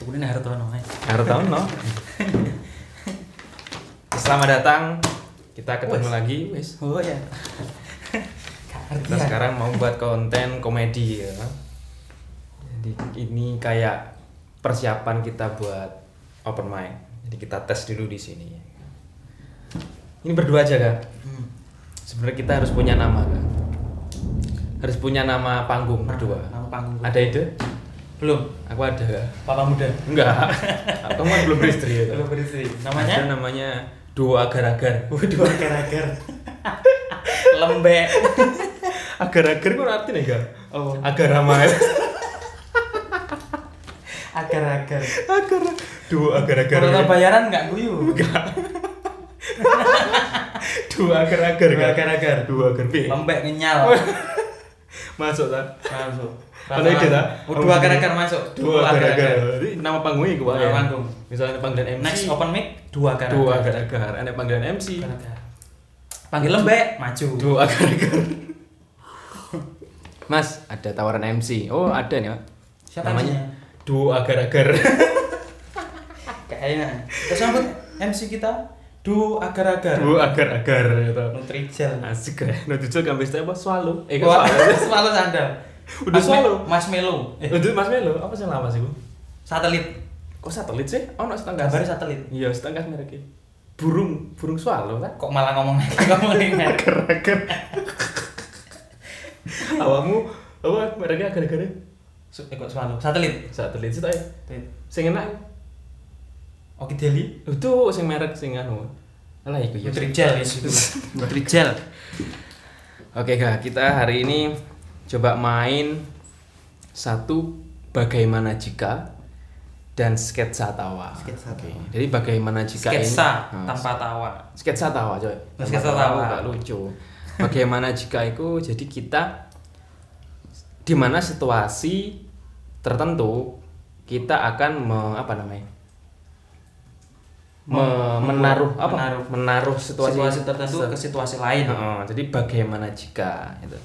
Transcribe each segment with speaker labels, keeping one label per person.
Speaker 1: Kemudian Hartono. eh.
Speaker 2: Hartono. Selamat datang. Kita ketemu
Speaker 1: Wes.
Speaker 2: lagi, wes.
Speaker 1: Oh ya.
Speaker 2: Kita
Speaker 1: Iya.
Speaker 2: sekarang mau buat konten komedi ya. Jadi ini kayak persiapan kita buat open mic. Jadi kita tes dulu di sini. Ini berdua aja kak.
Speaker 1: Hmm.
Speaker 2: Sebenarnya kita harus punya nama kak. Harus punya nama panggung berdua.
Speaker 1: Nama panggung.
Speaker 2: Ada ide?
Speaker 1: Belum.
Speaker 2: Aku ada kak.
Speaker 1: Papa muda.
Speaker 2: Enggak. Kamu kan belum beristri ya. Kak?
Speaker 1: Belum beristri.
Speaker 2: Ada
Speaker 1: Namanya?
Speaker 2: namanya duo agar-agar.
Speaker 1: Waduh, agar-agar. Lembek.
Speaker 2: Agar-agar kok artinya enggak?
Speaker 1: Oh,
Speaker 2: Agar ramai.
Speaker 1: agar-agar.
Speaker 2: agar duo agar-agar.
Speaker 1: Kalau bayaran nggak guyu.
Speaker 2: Duo agar-agar.
Speaker 1: Duo
Speaker 2: Kak.
Speaker 1: agar-agar.
Speaker 2: Duo agar. Bi.
Speaker 1: Lembek ngenyal.
Speaker 2: Masuk tak?
Speaker 1: Masuk.
Speaker 2: Ada ide tak?
Speaker 1: Waduh, agar-agar masuk.
Speaker 2: Duo agar-agar. Jadi nama panggungnya gue
Speaker 1: Nama panggung.
Speaker 2: ya? Misalnya panggilan MC.
Speaker 1: Next open mic dua agar-agar.
Speaker 2: Duo agar-agar. Ada panggilan MC.
Speaker 1: Agar-agar. Panggil lembek, maju.
Speaker 2: Duo agar-agar. Mas, ada tawaran MC. Oh, ada nih, Pak.
Speaker 1: Siapa MC-nya?
Speaker 2: Duo agar-agar.
Speaker 1: Kayaknya. Terus sambut MC kita duo agar-agar.
Speaker 2: Duo agar-agar gitu.
Speaker 1: Nutrijel.
Speaker 2: Asik ya. Nutrijel gambis apa? Swallow. Eh,
Speaker 1: Wah,
Speaker 2: kan
Speaker 1: selalu sandal.
Speaker 2: Udah solo.
Speaker 1: Mas Melo. Eh,
Speaker 2: Untuk Mas Melo, apa sih lama sih Bu?
Speaker 1: satelit.
Speaker 2: Kok satelit sih? Oh, no setengah.
Speaker 1: Gambar satelit.
Speaker 2: Iya, setengah mereknya. Burung, burung swallow kan?
Speaker 1: Kok malah ngomong ngomong ini?
Speaker 2: Agar-agar. Awamu, apa mereknya agar-agar?
Speaker 1: Su- eh, Kok selalu satelit.
Speaker 2: Satelit sih tadi.
Speaker 1: Satelit.
Speaker 2: Sing enak.
Speaker 1: Oke Deli.
Speaker 2: Itu sing merek sing anu. Alah iku ya.
Speaker 1: Nutrijel ya Nutrijel.
Speaker 2: Oke, Kak, kita hari ini coba main satu bagaimana jika dan sketsa tawa.
Speaker 1: Sketsa
Speaker 2: Oke, Jadi bagaimana jika ini-
Speaker 1: Sketsa
Speaker 2: Nah,
Speaker 1: tanpa tawa.
Speaker 2: sketsa tawa coy
Speaker 1: Oh, Sketsa tawa.
Speaker 2: gak lucu bagaimana jika itu jadi kita di mana situasi tertentu kita akan me- apa namanya Me- menaruh apa
Speaker 1: menaruh.
Speaker 2: menaruh situasi,
Speaker 1: Situasi tertentu ke situasi lain.
Speaker 2: Heeh, jadi bagaimana jika itu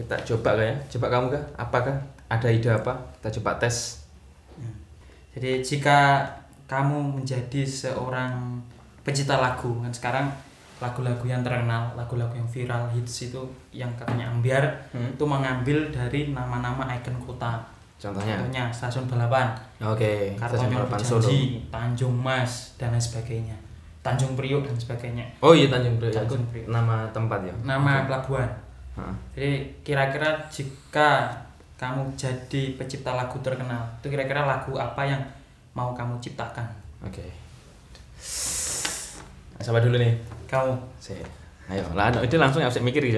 Speaker 2: kita coba kah ya coba kamu kah apakah ada ide apa kita coba tes
Speaker 1: Jadi jika kamu menjadi seorang pencipta lagu kan sekarang lagu-lagu yang terkenal, lagu-lagu yang viral hits itu yang katanya ambiar
Speaker 2: Hmm.
Speaker 1: itu mengambil dari nama-nama ikon kota.
Speaker 2: contohnya
Speaker 1: Contohnya Stasiun Balapan,
Speaker 2: oke Ya. stasiun
Speaker 1: Kartono
Speaker 2: Balapan Solo.
Speaker 1: Berjanji, Tanjung Mas dan lain sebagainya. Tanjung Priok dan sebagainya.
Speaker 2: oh iya Tanjung Priok Hmm. ya,
Speaker 1: Tanjung
Speaker 2: aku-
Speaker 1: Priok.
Speaker 2: nama tempat ya Ah,
Speaker 1: Nama pelabuhan.
Speaker 2: Heeh.
Speaker 1: Jadi kira-kira jika kamu jadi pencipta lagu terkenal, itu kira-kira lagu apa yang mau kamu ciptakan?
Speaker 2: Oke. Sabar dulu nih.
Speaker 1: Kamu
Speaker 2: Si. Ayo, lah no, itu langsung absen mikir gitu.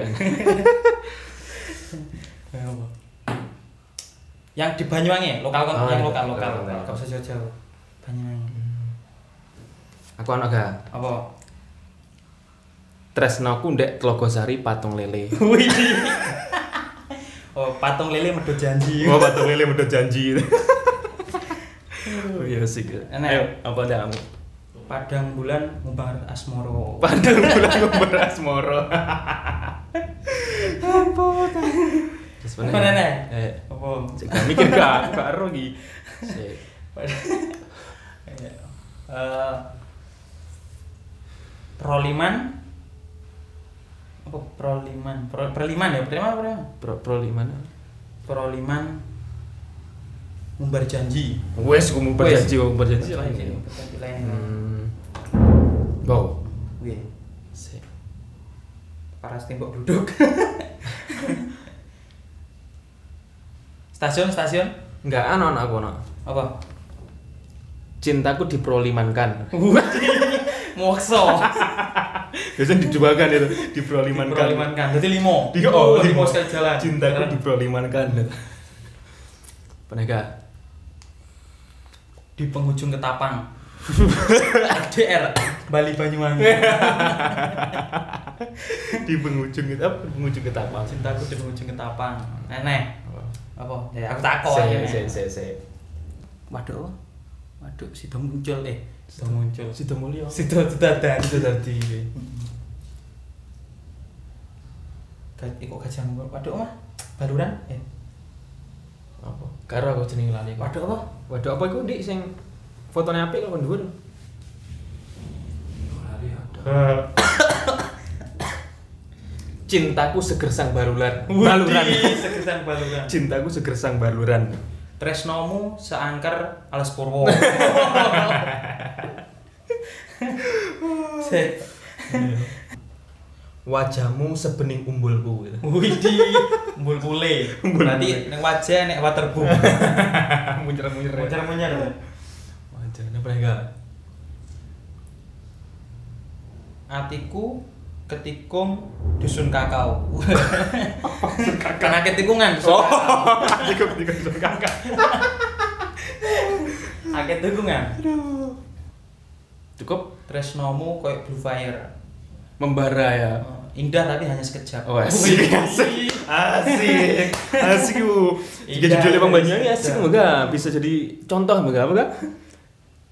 Speaker 1: Yang di Banyuwangi, ya? lokal
Speaker 2: Oh,
Speaker 1: yang lokal
Speaker 2: iya.
Speaker 1: lokal.
Speaker 2: Lokal, Hmm. lokal.
Speaker 1: Gak usah jauh-jauh. Banyuwangi.
Speaker 2: Aku anak gak
Speaker 1: Apa?
Speaker 2: tresnoku ndek Tlogosari patung lele.
Speaker 1: Wih. oh, patung lele medot janji.
Speaker 2: Gua Oh, patung lele udah janji. oh iya sih.
Speaker 1: Enak.
Speaker 2: Ayo, apa ada kamu?
Speaker 1: Padang bulan ngubar asmoro.
Speaker 2: Padang bulan beras moro. Terus mana?
Speaker 1: Apa, Nenek?
Speaker 2: Eh,
Speaker 1: Apa?
Speaker 2: cek gak mikir gak, gak rugi.
Speaker 1: Eh, Proliman apa proliman Pro- perliman ya perliman perliman
Speaker 2: Pro pro di mana?
Speaker 1: proliman ngumbar janji
Speaker 2: Wes, gue mau berjanji, gue mau berjanji lah ini.
Speaker 1: Berjanji lain.
Speaker 2: Hmm. Wow.
Speaker 1: Wih,
Speaker 2: Sik.
Speaker 1: paras tembok duduk. stasiun, stasiun.
Speaker 2: Enggak ana ana aku ana.
Speaker 1: Apa?
Speaker 2: Cintaku diprolimankan.
Speaker 1: Mokso.
Speaker 2: Biasanya diduakan itu,
Speaker 1: Diperlimankan. Jadi limo.
Speaker 2: Di-
Speaker 1: Oh,
Speaker 2: oh,
Speaker 1: limo
Speaker 2: limo.
Speaker 1: sekali jalan. Jalan.
Speaker 2: diprolimankan. Pernah gak?
Speaker 1: di penghujung ketapang. RDR Bali Banyuwangi.
Speaker 2: Di penghujung itu apa? Penghujung ketapang.
Speaker 1: Cintaku di penghujung ketapang. Nenek. Apa? Ya aku takut.
Speaker 2: Sik,
Speaker 1: ya,
Speaker 2: sik,
Speaker 1: Nek.
Speaker 2: sik, sik.
Speaker 1: Waduh. Waduh, sido muncul eh. Sido muncul.
Speaker 2: Sido mulya.
Speaker 1: Sido dadar. Sido
Speaker 2: tadi.
Speaker 1: Ya. Gaj- eh, kok gajah mungkur? Waduh mah, baluran. Eh,
Speaker 2: apa karo aku jeneng lali kok.
Speaker 1: Waduh apa?
Speaker 2: waduh apa iku ndik sing fotone apik kok dhuwur
Speaker 1: Oh, ya.
Speaker 2: cintaku segersang baluran baluran
Speaker 1: Sekesan baluran.
Speaker 2: cintaku segersang baluran
Speaker 1: Tresnomu seangker alas purwo. Se-
Speaker 2: wajahmu sebening umbulku gitu
Speaker 1: Widi, mbul pule.
Speaker 2: Mbul
Speaker 1: Berarti nek wajah nek waterboom.
Speaker 2: munyer-munyer
Speaker 1: Munyer munyer.
Speaker 2: wajahnya apa enggak
Speaker 1: Atiku ketikung dusun kakao. kan? Karena ketikungan. dusun kakao.
Speaker 2: Oh. ikut ikut kakak
Speaker 1: Akeh tikungan.
Speaker 2: cukup
Speaker 1: Tresnomu koyo blue fire. Oh,
Speaker 2: membara ya
Speaker 1: Indah tapi hanya sekejap.
Speaker 2: Oh, asik,
Speaker 1: Wih.
Speaker 2: asik, asik, asik bu. Jika
Speaker 1: Indah,
Speaker 2: judulnya Bang Banyu ini asik
Speaker 1: indah.
Speaker 2: enggak? Bisa jadi contoh enggak? Enggak?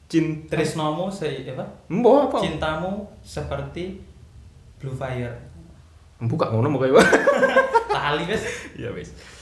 Speaker 2: Cinta,
Speaker 1: Tresnomu se apa?
Speaker 2: embo apa?
Speaker 1: Cintamu seperti blue fire.
Speaker 2: Buka ngono mau kayak
Speaker 1: Tali wis.
Speaker 2: Ya wes.